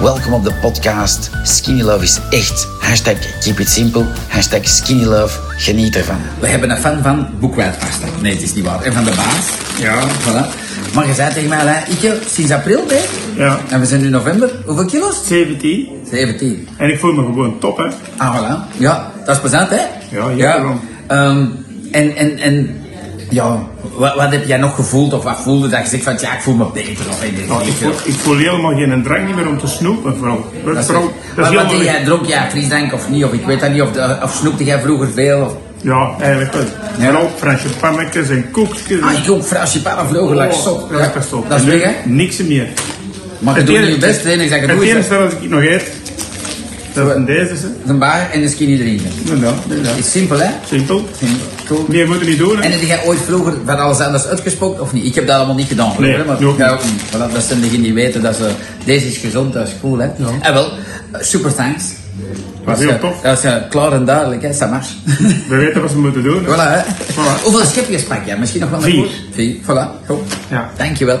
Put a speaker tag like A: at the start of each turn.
A: Welkom op de podcast. Skinny Love is echt. Hashtag keep it simple. Hashtag skinny love. Geniet ervan.
B: We hebben een fan van boekwijdpasta. Nee, het is niet waar. En van de baas.
C: Ja.
B: Voilà. Maar je zei tegen mij, Alain, ik sinds april, hè?
C: Ja.
B: En we zijn nu november. Hoeveel kilo's?
C: 17.
B: 17.
C: En ik voel me gewoon top, hè.
B: Ah, voilà. Ja, dat is plezant, hè?
C: Ja,
B: ja.
C: jawel.
B: Ehm, en, en, en, ja, wat, wat heb jij nog gevoeld of wat voelde dat je zegt van, ja, ik voel me beter of weet ik
C: Nou, ik,
B: niet veel.
C: voel, ik voel helemaal geen drang niet meer om te snoepen, vooral.
B: Dat
C: Dat, is
B: is
C: vooral-
B: echt-
C: dat is
B: Maar wat deed
C: helemaal
B: jij? Dronk jij frisdrank of niet? Of ik weet dat niet. Of, de- of snoepte jij vroeger veel? Of...
C: niet- Ja, eigenlijk wel. Vooral Fransje pannetjes en koekjes.
B: Ah, ik ook fransje pannen vroeger, like sop.
C: Ja, Oh, dat is top.
B: Dat is
C: En nu
B: weg, hè?
C: Niks meer.
B: Maar je
C: Het
B: doet nu
C: enige-
B: je best, hè? Ik zeg het
C: Het
B: doe is
C: enige dat ik nog eet, dat zijn deze. hè.
B: een bar en een skinny drinken.
C: Nou, ja, ja.
B: Dat is simpel, hè?
C: Simpel.
B: Cool.
C: Meer moet je niet doen, hè.
B: En heb jij ooit vroeger van alles anders uitgespookt of niet? Ik heb dat allemaal niet gedaan.
C: Nee,
B: hoor,
C: ook
B: ja,
C: niet.
B: voilà, dat zijn degenen die weten dat ze. Deze is gezond, dat is cool, hè? En wel, eh, super thanks.
C: Was heel
B: eh,
C: tof.
B: Dat is eh, klaar en duidelijk, hè? Samars.
C: We weten wat ze moeten doen. hè.
B: voilà, hè?
C: Voilà.
B: Hoeveel schepjes pak jij? Misschien nog wel een
C: Vier.
B: goed? Vier. Voilà, goed.
C: Ja.
B: Dankjewel.